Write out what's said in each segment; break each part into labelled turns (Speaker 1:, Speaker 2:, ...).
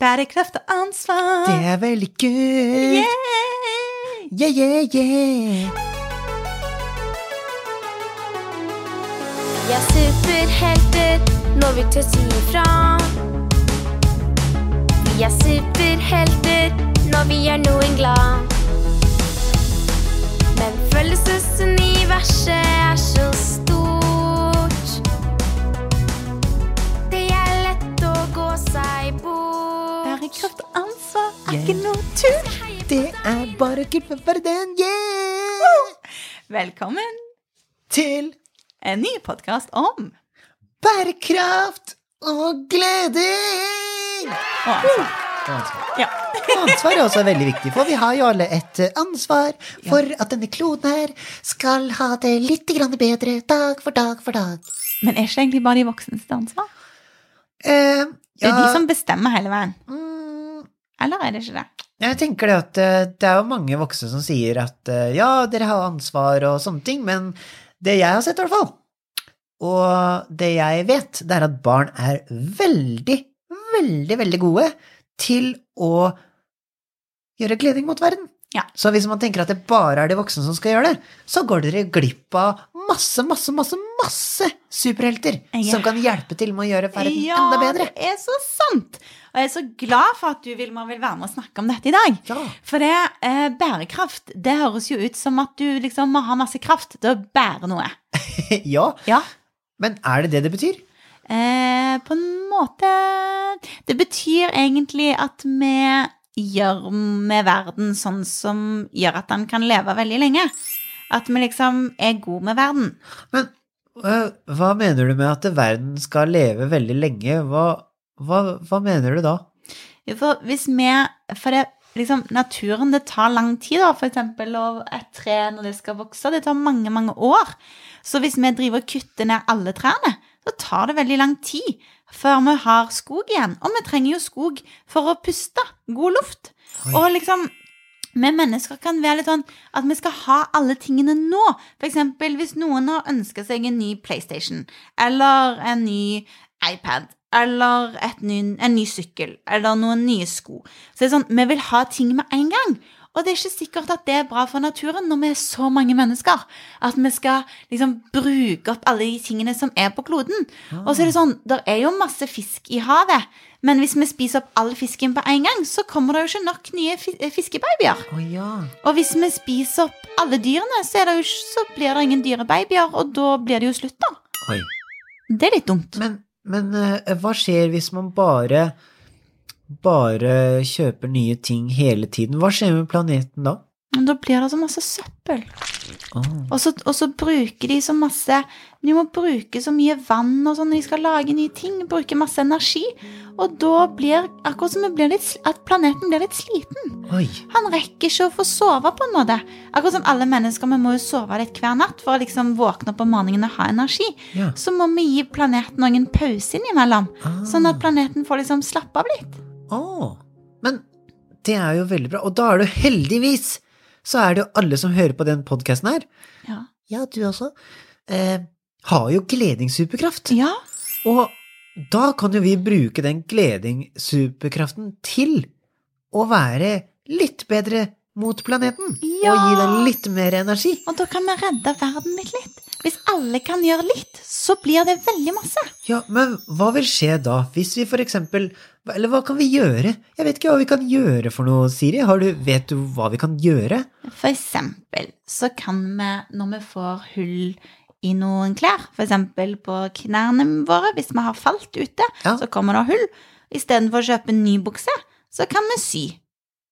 Speaker 1: Bærekraft og ansvar.
Speaker 2: Det er veldig kult.
Speaker 1: Yeah!
Speaker 2: Yeah, yeah, yeah.
Speaker 3: Vi er superhelter når vi tør si ifra. Vi er superhelter når vi gjør noen glad. Men følelsesuniverset er så stort. Det er lett å gå seg bort.
Speaker 1: Bærekraft og ansvar er
Speaker 2: Yeah.
Speaker 1: ikke noe tull.
Speaker 2: Det er bare kult med verden. Yeah!
Speaker 1: Velkommen
Speaker 2: Til
Speaker 1: en ny podkast om
Speaker 2: bærekraft og glede.
Speaker 1: og ansvar.
Speaker 2: Og ansvar.
Speaker 1: Ja.
Speaker 2: Og ansvar er også veldig viktig, for vi har jo alle et eh, ansvar for at denne kloden her skal ha det litt grann bedre dag for dag for dag.
Speaker 1: Men er ikke det egentlig bare de voksne sitt ansvar?
Speaker 2: Eh,
Speaker 1: Det er
Speaker 2: ja,
Speaker 1: de som bestemmer hele veien.
Speaker 2: mm,
Speaker 1: Eller er det ikke det?
Speaker 2: Jeg tenker det at eh, det er jo mange voksne som sier at eh, ja, dere har ansvar og sånne ting, men det jeg har sett i hvert fall, og det jeg vet, det er at barn er veldig, veldig, veldig gode til å gjøre gleding mot verden.
Speaker 1: Ja.
Speaker 2: Så hvis man tenker at det bare er de voksne som skal gjøre det, så går dere glipp av masse, masse, masse, masse superhelter
Speaker 1: Ja.
Speaker 2: som kan hjelpe til med å gjøre verden
Speaker 1: ja,
Speaker 2: enda bedre.
Speaker 1: det er så sant! Og jeg er så glad for at du Vilma, vil være med og snakke om dette i dag.
Speaker 2: Ja.
Speaker 1: For det, eh, bærekraft, det høres jo ut som at du liksom må ha masse kraft til å bære noe.
Speaker 2: ja,
Speaker 1: Ja.
Speaker 2: men er det det det betyr?
Speaker 1: Eh, på en måte Det betyr egentlig at vi gjør med verden sånn som gjør at den kan leve veldig lenge. At vi liksom er god med verden.
Speaker 2: Men øh, hva mener du med at verden skal leve veldig lenge? Hva, hva, hva mener du da?
Speaker 1: For hvis vi For det, liksom, naturen, det tar lang tid, da, for eksempel, og et tre når det skal vokse, det tar mange, mange år. Så hvis vi driver og kutter ned alle trærne, så tar det veldig lang tid før vi har skog igjen. Og vi trenger jo skog for å puste god luft.
Speaker 2: Oi.
Speaker 1: Og liksom vi mennesker kan være litt sånn at vi skal ha alle tingene nå. For eksempel hvis noen har ønska seg en ny PlayStation, eller en ny iPad, eller et ny, en ny sykkel, eller noen nye sko. Så det er sånn, vi vil ha ting med en gang. Og det er ikke sikkert at det er bra for naturen når vi er så mange mennesker. At vi skal liksom bruke opp alle de tingene som er på kloden. Og så er det sånn, der er jo masse fisk i havet. Men hvis vi spiser opp all fisken på en gang, så kommer det jo ikke nok nye fi- fiskebabyer.
Speaker 2: Ah, Å ja.
Speaker 1: Og hvis vi spiser opp alle dyrene, så, er det jo, ikke- så blir det ingen dyrebabyer, og da blir det jo slutt, da.
Speaker 2: Oi.
Speaker 1: Det er litt dumt.
Speaker 2: Men, men øh, hva skjer hvis man bare bare kjøper nye ting hele tiden? Hva skjer med planeten da?
Speaker 1: Men da blir det så masse søppel.
Speaker 2: Å,
Speaker 1: Og så, og så bruker de så masse De må bruke så mye vann og sånn når de skal lage nye ting. Bruke masse energi. Og da blir akkurat som det blir litt, sl- at planeten blir litt sliten.
Speaker 2: Oi.
Speaker 1: Han rekker ikke å få sove på en måte. Akkurat som alle mennesker, vi må jo sove litt hver natt for å liksom våkne opp om morgenen og ha energi.
Speaker 2: Ja.
Speaker 1: Så må vi gi planeten noen pause innimellom.
Speaker 2: Ah.
Speaker 1: Sånn at planeten får liksom slappe av litt.
Speaker 2: Å, Men det er jo veldig bra. Og da er det jo heldigvis så er det jo alle som hører på den podkasten her.
Speaker 1: Ja.
Speaker 2: Ja, du også. Eh, har jo gledingsuperkraft.
Speaker 1: ja.
Speaker 2: Og da kan jo vi bruke den gleding-superkraften til å være litt bedre mot planeten.
Speaker 1: Ja.
Speaker 2: Og gi den litt mer energi.
Speaker 1: Og da kan vi redde verden litt litt. Hvis alle kan gjøre litt, så blir det veldig masse.
Speaker 2: Ja, men hva vil skje da, hvis vi for eksempel Eller hva kan vi gjøre? Jeg vet ikke hva vi kan gjøre for noe, Siri. Har du, vet du hva vi kan gjøre?
Speaker 1: For eksempel så kan vi, når vi får hull i noen klær, for eksempel på knærne våre, hvis vi har falt ute,
Speaker 2: Ja.
Speaker 1: så kommer det hull. Istedenfor å kjøpe en ny bukse, så kan vi sy.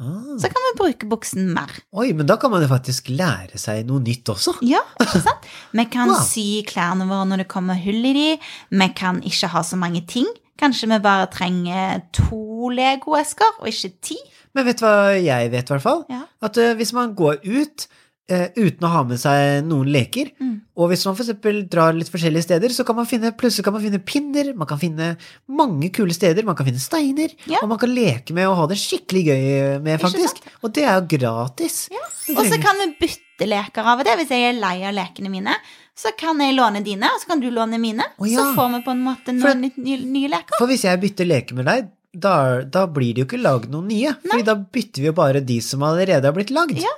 Speaker 2: Ah,
Speaker 1: Så kan vi bruke buksen mer.
Speaker 2: oi, men da kan man jo faktisk lære seg noe nytt også.
Speaker 1: Ja, ikke sant? Vi kan
Speaker 2: Wow.
Speaker 1: sy klærne våre når det kommer hull i de. Vi kan ikke ha så mange ting. Kanskje vi bare trenger to Lego-esker, og ikke ti.
Speaker 2: Men vet du hva jeg vet, i hvert fall?
Speaker 1: Ja.
Speaker 2: At eh, hvis man går ut eh, uten å ha med seg noen leker,
Speaker 1: Mm.
Speaker 2: og hvis man for eksempel drar litt forskjellige steder, så kan man finne, plutselig kan man finne pinner, man kan finne mange kule steder, man kan finne steiner,
Speaker 1: Ja.
Speaker 2: og man kan leke med og ha det skikkelig gøy med,
Speaker 1: Ikke
Speaker 2: faktisk. Og det er jo gratis. Du
Speaker 1: Og så
Speaker 2: trenger-
Speaker 1: kan vi bytte leker av og til. Hvis jeg er lei av lekene mine, så kan jeg låne dine, og så kan du låne mine.
Speaker 2: Å, ja.
Speaker 1: Så får vi på en måte
Speaker 2: For-
Speaker 1: noen litt nye, nye leker.
Speaker 2: For hvis jeg bytter leke med deg, da, da blir det jo ikke lagd noen nye. Fordi da bytter vi jo bare de som allerede har blitt lagd.
Speaker 1: Ja.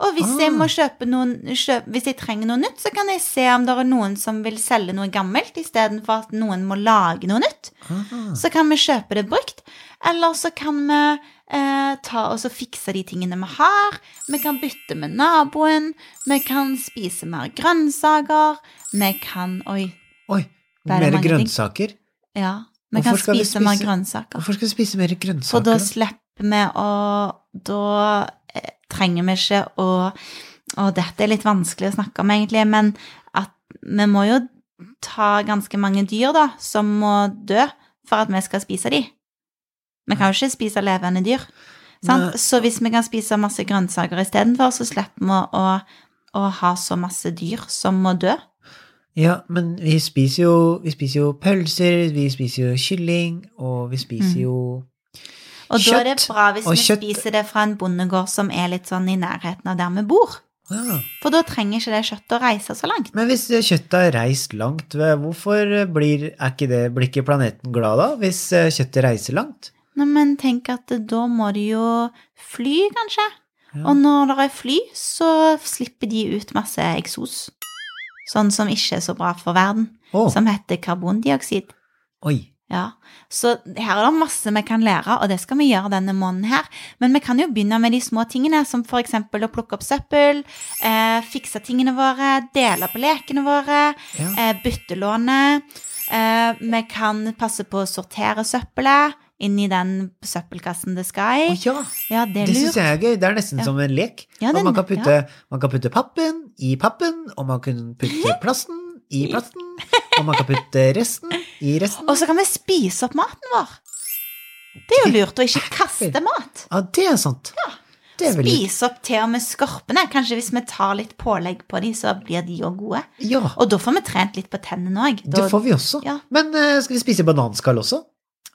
Speaker 1: Og hvis jeg
Speaker 2: Ah.
Speaker 1: må kjøpe noen, kjøp, hvis jeg trenger noe nytt, så kan jeg se om det er noen som vil selge noe gammelt, istedenfor at noen må lage noe nytt.
Speaker 2: Ah.
Speaker 1: Så kan vi kjøpe det brukt, eller så kan vi eh, ta og så fikse de tingene vi har. Vi kan bytte med naboen, vi kan spise mer grønnsaker, vi kan Oi,
Speaker 2: Oi,
Speaker 1: Der er
Speaker 2: mer
Speaker 1: mange ting.
Speaker 2: grønnsaker?
Speaker 1: ja. Vi
Speaker 2: Hvorfor
Speaker 1: kan
Speaker 2: skal vi
Speaker 1: spise, mer
Speaker 2: spise-
Speaker 1: grønnsaker.
Speaker 2: Hvorfor skal vi spise mer
Speaker 1: For da
Speaker 2: grønnsaker? da?
Speaker 1: slipper vi å Da eh, trenger vi ikke å Og dette er litt vanskelig å snakke om, egentlig, men at vi må jo ta ganske mange dyr, da, som må dø for at vi skal spise de. Vi kan jo ikke spise levende dyr.
Speaker 2: Nei.
Speaker 1: Sant? Så hvis vi kan spise masse grønnsaker istedenfor, så slipper vi å, å ha så masse dyr som må dø.
Speaker 2: Ja, men vi spiser, jo, vi spiser jo pølser, vi spiser jo kylling, og vi spiser
Speaker 1: Mm.
Speaker 2: jo
Speaker 1: Og da er det
Speaker 2: Kjøtt
Speaker 1: bra hvis
Speaker 2: og
Speaker 1: vi
Speaker 2: kjøtt-
Speaker 1: spiser det fra en bondegård som er litt sånn i nærheten av der vi bor.
Speaker 2: ah.
Speaker 1: For da trenger ikke det kjøttet å reise så langt.
Speaker 2: Men hvis eh, kjøttet har reist langt, hva- hvorfor blir, er ikke det, blir ikke planeten glad da, hvis eh, kjøttet reiser langt?
Speaker 1: Nei, men tenk at da må de jo fly, kanskje.
Speaker 2: Ja.
Speaker 1: Og når det er fly, så slipper de ut masse eksos. Sånn som ikke er så bra for verden.
Speaker 2: Å,
Speaker 1: Som heter karbondioksid.
Speaker 2: oi.
Speaker 1: Ja, Så her er det masse vi kan lære, og det skal vi gjøre denne måneden her. Men vi kan jo begynne med de små tingene, som f.eks. å plukke opp søppel, eh, fikse tingene våre, dele på lekene våre,
Speaker 2: Ja.
Speaker 1: eh, byttelånet. Eh, vi kan passe på å sortere søppelet inn i den søppelkassen det skal i.
Speaker 2: Å ja,
Speaker 1: Ja, det er
Speaker 2: det syns
Speaker 1: lurt.
Speaker 2: jeg er gøy. Det er nesten
Speaker 1: Ja.
Speaker 2: som en lek.
Speaker 1: Ja,
Speaker 2: Og
Speaker 1: den-
Speaker 2: man, kan putte, man kan putte pappen i pappen, og man kan putte plasten i plasten, og man kan putte resten i resten.
Speaker 1: Og så kan vi spise opp maten vår. Det er jo lurt å ikke kaste mat.
Speaker 2: Ja, det er sant. Det er veldig
Speaker 1: Spise opp til og med skorpene. Kanskje hvis vi tar litt pålegg på dem, så blir de òg gode.
Speaker 2: Ja,
Speaker 1: Og da får vi trent litt på tennene òg.
Speaker 2: det får vi også.
Speaker 1: Ja.
Speaker 2: Men eh, skal vi spise bananskall også?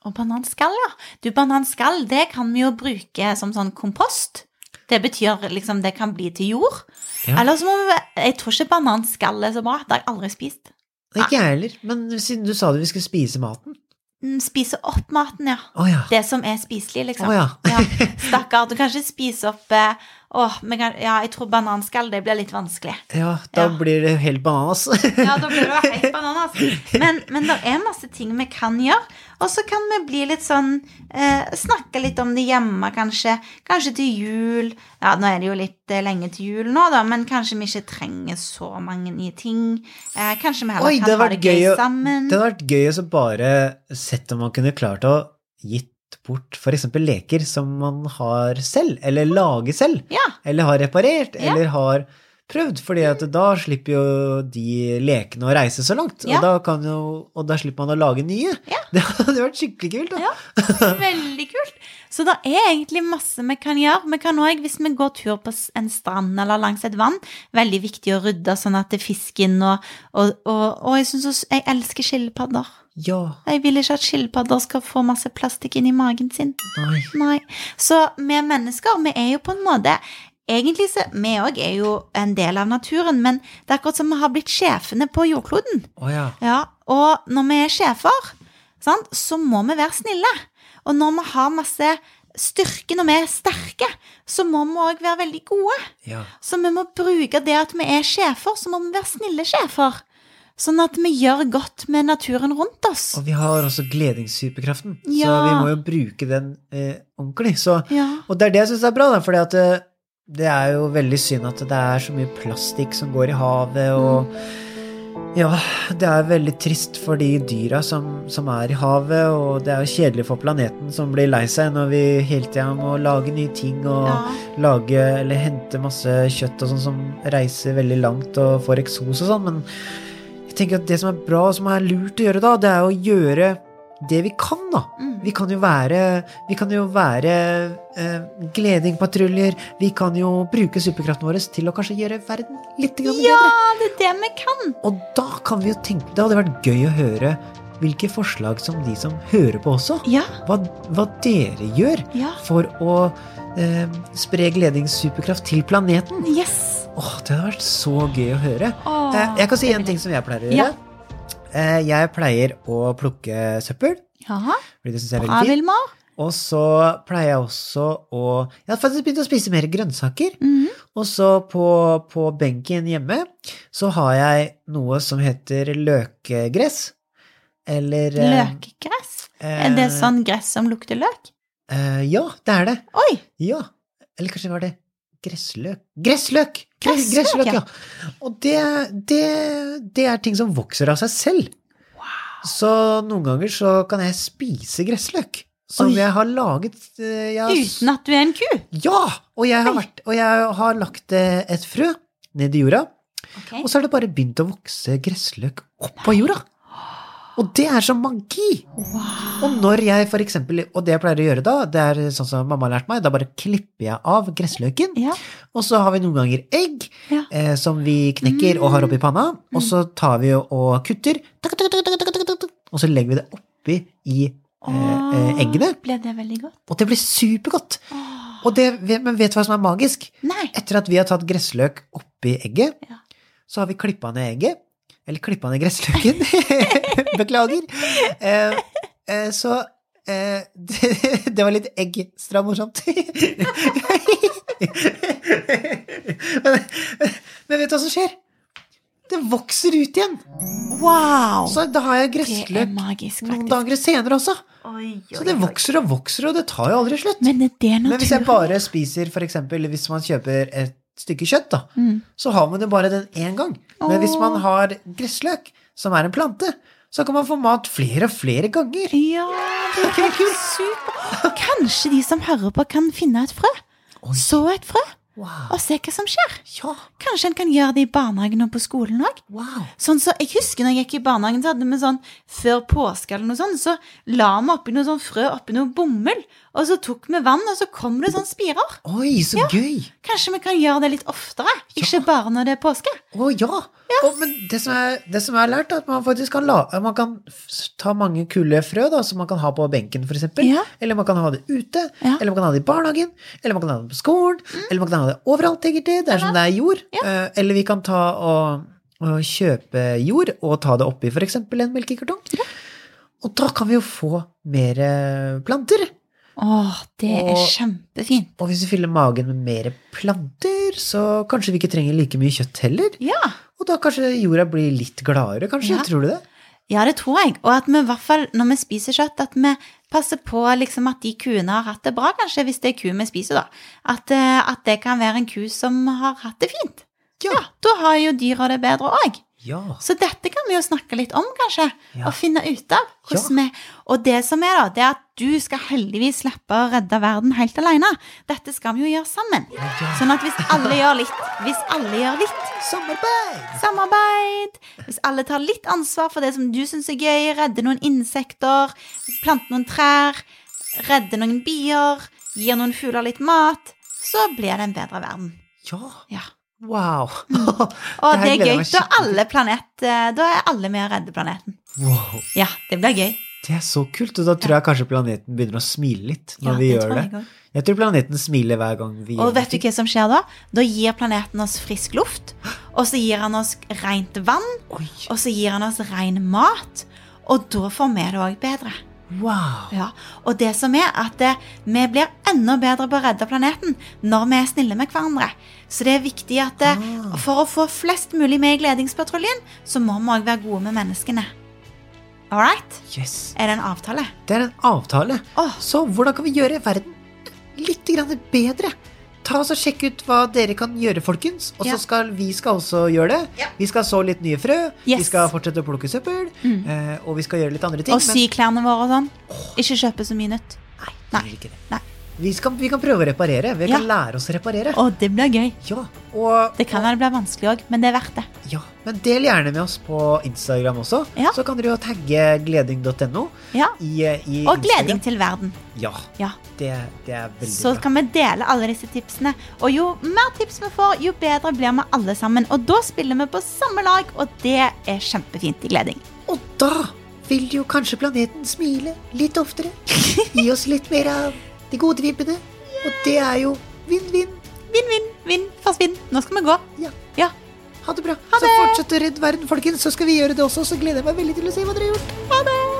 Speaker 1: Og bananskall, ja. Du, bananskall, det kan vi jo bruke som sånn kompost. Det betyr liksom det kan bli til jord.
Speaker 2: Ja.
Speaker 1: Eller så må vi Jeg tror ikke bananskall er så bra. Det har jeg aldri spist.
Speaker 2: Ikke jeg heller, men siden du sa det vi skulle spise maten.
Speaker 1: Mm, Spise opp maten, ja.
Speaker 2: Å ja.
Speaker 1: Det som er spiselig, liksom.
Speaker 2: Å ja.
Speaker 1: Ja, stakkar. Du kan ikke spise opp eh, Åh, men kan, ja, jeg tror bananskall, det blir litt vanskelig.
Speaker 2: Ja, da
Speaker 1: Ja. Mm.
Speaker 2: blir det helt bananas.
Speaker 1: Ja, da blir det jo helt bananas. Men, men det er masse ting vi kan gjøre. Og så kan vi bli litt sånn eh, Snakke litt om det hjemme, kanskje. Kanskje til jul. Ja, nå er det jo litt eh, lenge til jul nå, da, men kanskje vi ikke trenger så mange nye ting. Eh, kanskje vi heller
Speaker 2: Oi, det
Speaker 1: kan ha
Speaker 2: var
Speaker 1: det gøy,
Speaker 2: gøy å-
Speaker 1: sammen.
Speaker 2: Det hadde vært gøy å så bare sett om man kunne klart å gitt bort for eksempel leker som man har selv, eller lager selv,
Speaker 1: Ja.
Speaker 2: eller har reparert,
Speaker 1: Mm. Ja. Mm.
Speaker 2: eller har prøvd, fordi at da slipper jo de lekene å reise så langt,
Speaker 1: Ja.
Speaker 2: og, da kan jo, og da slipper man å lage nye.
Speaker 1: Ja.
Speaker 2: Det hadde vært skikkelig kult, da.
Speaker 1: Ja. Veldig kult. Så det er egentlig masse vi kan gjøre. Vi kan òg, hvis vi går tur på s- en strand eller langs et vann, veldig viktig å rydde sånn at det er fisken og Og, og, og jeg, synes også, jeg elsker skilpadder.
Speaker 2: Ja,
Speaker 1: Jeg vil ikke at skilpadder skal få masse plastikk inn i magen sin.
Speaker 2: nei.
Speaker 1: Nei. Så vi mennesker, vi er jo på en måte Egentlig så vi òg er jo en del av naturen, men det er akkurat som vi har blitt sjefene på jordkloden.
Speaker 2: Å ja.
Speaker 1: Ja, og når vi er sjefer, sant, så må vi være snille. Og når vi har masse styrke, når vi er sterke, så må vi òg være veldig gode.
Speaker 2: Ja.
Speaker 1: Så vi må bruke det at vi er sjefer, så må vi være snille sjefer. Sånn at vi gjør godt med naturen rundt oss.
Speaker 2: Og vi har også gledingshyperkraften, så
Speaker 1: Ja.
Speaker 2: vi må jo bruke den eh, ordentlig. Så
Speaker 1: Ja.
Speaker 2: Og det er det jeg syns er bra, da, fordi at eh, det er jo veldig synd at det er så mye plastikk som går i havet, og
Speaker 1: Mm.
Speaker 2: ja, det er veldig trist for de dyra som, som er i havet, og det er jo kjedelig for planeten som blir lei seg når vi hele tida må lage nye ting og
Speaker 1: ja.
Speaker 2: lage eller hente masse kjøtt og sånn som reiser veldig langt og får eksos og sånn, men jeg tenker at det som er bra og som er lurt å gjøre da, det er å gjøre det vi kan, da.
Speaker 1: Mm.
Speaker 2: Vi kan jo være, vi kan jo være eh, gledingpatruljer. Vi kan jo bruke superkraften vår til å kanskje gjøre verden litt grann
Speaker 1: ja,
Speaker 2: bedre.
Speaker 1: det er det vi kan.
Speaker 2: Og da kan vi jo tenke Det hadde vært gøy å høre hvilke forslag som de som hører på også,
Speaker 1: Ja,
Speaker 2: hva, hva dere gjør
Speaker 1: ja.
Speaker 2: for å eh, spre gledings-superkraft til planeten.
Speaker 1: Yes.
Speaker 2: Åh, det hadde vært så gøy å høre.
Speaker 1: Åh,
Speaker 2: Eh, jeg kan si
Speaker 1: det
Speaker 2: en
Speaker 1: vil jeg.
Speaker 2: ting som jeg pleier å
Speaker 1: Ja.
Speaker 2: gjøre. Eh, jeg pleier å plukke søppel,
Speaker 1: Ja,
Speaker 2: fordi det syns jeg er
Speaker 1: bra,
Speaker 2: veldig fint.
Speaker 1: Vilmar.
Speaker 2: Og så pleier jeg også å Jeg har faktisk begynt å spise mer grønnsaker.
Speaker 1: Mhm.
Speaker 2: Og så på, på benken hjemme så har jeg noe som heter løkegress. Eller eh,
Speaker 1: Løkgress? Er det sånn gress som lukter løk?
Speaker 2: eh, Ja, det er det.
Speaker 1: Oi!
Speaker 2: Ja. Eller kanskje var det gressløk? Gressløk! Gre-
Speaker 1: Gressløk,
Speaker 2: Gressløk,
Speaker 1: ja.
Speaker 2: ja. Og det, det, det er ting som vokser av seg selv. Så noen ganger så kan jeg spise gressløk. Som
Speaker 1: Oi.
Speaker 2: jeg har laget eh, jeg har s-
Speaker 1: Uten at du er en ku?
Speaker 2: Ja! Og jeg, har
Speaker 1: Oi.
Speaker 2: vært, og jeg har lagt eh, et frø ned i jorda,
Speaker 1: Ok.
Speaker 2: og så har det bare begynt å vokse gressløk opp av jorda. Og det er som magi!
Speaker 1: Wow.
Speaker 2: Og når jeg for eksempel, og det jeg pleier å gjøre da, det er sånn som mamma har lært meg, da bare klipper jeg av gressløken,
Speaker 1: Ja.
Speaker 2: og så har vi noen ganger egg
Speaker 1: Ja. Mm.
Speaker 2: eh, som vi knekker og har oppi panna, og så tar vi og, og kutter, tuk, tuk, tuk, tuk, tuk, tuk, tuk, og så legger vi det oppi i eh, eh, eggene,
Speaker 1: Åh, Ble det veldig godt?
Speaker 2: og det blir supergodt.
Speaker 1: Åh,
Speaker 2: Og det, men vet du hva som er magisk?
Speaker 1: Nei.
Speaker 2: Etter at vi har tatt gressløk oppi egget,
Speaker 1: Ja.
Speaker 2: så har vi klippa ned egget. Eller klippa ned gressløken. Beklager. Eh, eh, så eh, det, det var litt eggstramorsomt. men, men vet du hva som skjer? Det vokser ut igjen!
Speaker 1: Wow!
Speaker 2: Så da har jeg
Speaker 1: det er
Speaker 2: gressløk
Speaker 1: magisk,
Speaker 2: noen
Speaker 1: faktisk.
Speaker 2: dager senere også.
Speaker 1: Oi, oi,
Speaker 2: Så det
Speaker 1: oi.
Speaker 2: vokser og vokser, og det tar jo aldri slutt.
Speaker 1: Men er det naturlig?
Speaker 2: Men hvis jeg bare spiser, for eksempel hvis man kjøper et stykke kjøtt, da,
Speaker 1: Mm.
Speaker 2: så har man jo bare den én gang. Men hvis man har gressløk, som er en plante, så kan man få mat flere og flere ganger.
Speaker 1: Ja, det er helt super. Kanskje de som hører på, kan finne et frø?
Speaker 2: Oi.
Speaker 1: Så et frø,
Speaker 2: Wow.
Speaker 1: og se hva som skjer.
Speaker 2: Ja,
Speaker 1: Kanskje en kan gjøre det i barnehagen og på skolen òg?
Speaker 2: wow.
Speaker 1: Sånn så, jeg husker når jeg gikk i barnehagen, så hadde vi sånn før påske eller noe sånt, så la vi oppi noe sånn frø oppi noe bomull, og så tok vi vann, og så kom det sånn spirer.
Speaker 2: Oi, så gøy.
Speaker 1: Kanskje vi kan gjøre det litt oftere, ikke bare når det er påske.
Speaker 2: Å ja. Å, men det som, er, det som er lært, er at man faktisk kan, la, man kan f- ta mange kule frø da, som man kan ha på benken, f.eks.
Speaker 1: Ja.
Speaker 2: Eller man kan ha det ute,
Speaker 1: Ja. Mm.
Speaker 2: eller man kan ha det i barnehagen, eller man kan ha det på skolen, eller man kan ha det overalt, egentlig. Det er som det er jord. Eh, Eller vi kan ta og, og kjøpe jord og ta det oppi f.eks. en melkekartong. Og da kan vi jo få mer eh, planter.
Speaker 1: Åh, det er
Speaker 2: Og-
Speaker 1: kjempefint.
Speaker 2: Og hvis vi fyller magen med mer planter, så kanskje vi ikke trenger like mye kjøtt heller.
Speaker 1: Ja.
Speaker 2: Og da kanskje jorda blir litt gladere, kanskje?
Speaker 1: Ja.
Speaker 2: Tror du det?
Speaker 1: Ja, det tror jeg. Og at vi i hvert fall, når vi spiser kjøtt, at vi passer på liksom, at de kuene har hatt det bra, kanskje, hvis det er ku vi spiser, da. At, eh, at det kan være en ku som har hatt det fint.
Speaker 2: Ja.
Speaker 1: Da har jo dyra det bedre òg.
Speaker 2: Ja.
Speaker 1: Så dette kan vi jo snakke litt om, kanskje,
Speaker 2: Ja.
Speaker 1: og finne ut av. hvordan vi, og det som er, da, det er at du skal heldigvis slippe å redde verden helt alene. Dette skal vi jo gjøre sammen. Sånn at hvis alle gjør litt, hvis alle gjør litt,
Speaker 2: Samarbeid!
Speaker 1: Samarbeid! Hvis alle tar litt ansvar for det som du syns er gøy, redde noen insekter, plante noen trær, redde noen bier, gir noen fugler litt mat, så blir det en bedre verden.
Speaker 2: Ja.
Speaker 1: Ja.
Speaker 2: Wow.
Speaker 1: Mm. Og det
Speaker 2: her
Speaker 1: er
Speaker 2: gleder jeg
Speaker 1: gøy.
Speaker 2: meg
Speaker 1: Da er,
Speaker 2: skikkelig
Speaker 1: alle planet, eh, da er alle med å redde planeten.
Speaker 2: til. Wow.
Speaker 1: Ja, det blir gøy.
Speaker 2: Det er så kult, og da tror jeg kanskje planeten begynner å smile litt når
Speaker 1: Ja,
Speaker 2: vi
Speaker 1: det
Speaker 2: gjør
Speaker 1: tror
Speaker 2: det.
Speaker 1: jeg også.
Speaker 2: Jeg tror planeten smiler hver gang vi
Speaker 1: Og
Speaker 2: gjør
Speaker 1: vet du
Speaker 2: noe.
Speaker 1: hva som skjer da? Da gir planeten oss frisk luft, og så gir han oss rent vann,
Speaker 2: Oi,
Speaker 1: og så gir han oss ren mat, og da får vi det òg bedre.
Speaker 2: wow.
Speaker 1: Ja, og det som er at eh, vi blir enda bedre på å redde planeten når vi er snille med hverandre. Så det er viktig at eh,
Speaker 2: Ah.
Speaker 1: for å få flest mulig med i Gledingspatruljen, så må vi òg være gode med menneskene. All right?
Speaker 2: Yes.
Speaker 1: Er det en avtale?
Speaker 2: Det er en avtale.
Speaker 1: Åh,
Speaker 2: Så hvordan kan vi gjøre verden litt grann bedre? Ta oss og Sjekk ut hva dere kan gjøre, folkens. Og
Speaker 1: Ja.
Speaker 2: så skal vi skal også gjøre det.
Speaker 1: Ja.
Speaker 2: Vi skal så litt nye frø.
Speaker 1: Yes.
Speaker 2: Vi skal fortsette å plukke søppel. eh, Og vi skal gjøre litt andre ting.
Speaker 1: Mm. og sy klærne våre og sånn. Ikke kjøpe så mye nytt.
Speaker 2: men
Speaker 1: Nei.
Speaker 2: vi gjør ikke det.
Speaker 1: Nei.
Speaker 2: Vi, skal, vi kan prøve å reparere. Vi
Speaker 1: Ja.
Speaker 2: kan lære oss å reparere.
Speaker 1: Og det blir gøy.
Speaker 2: Ja, og,
Speaker 1: Det kan være det blir vanskelig òg, men det er verdt det.
Speaker 2: ja, men del gjerne med oss på Instagram også.
Speaker 1: Ja.
Speaker 2: Så kan dere jo tagge gleding.no
Speaker 1: Ja.
Speaker 2: i, eh, i
Speaker 1: Og gleding til verden.
Speaker 2: Ja,
Speaker 1: Ja.
Speaker 2: det, det er veldig
Speaker 1: Så
Speaker 2: bra.
Speaker 1: kan vi dele alle disse tipsene. Og jo mer tips vi får, jo bedre blir vi alle sammen. Og da spiller vi på samme lag, og det er kjempefint i gleding.
Speaker 2: Og da vil jo kanskje planeten smile litt oftere. Gi oss litt mer av de gode vibbene. Og det er jo vinn-vinn.
Speaker 1: Vinn, vinn, vinn, forsvinn. Nå skal vi gå.
Speaker 2: Ja.
Speaker 1: Ja.
Speaker 2: Ha det bra. Så fortsett å redde verden, folkens. Så skal vi gjøre det også. Så gleder jeg meg veldig til å se hva dere har gjort.
Speaker 1: Ha det.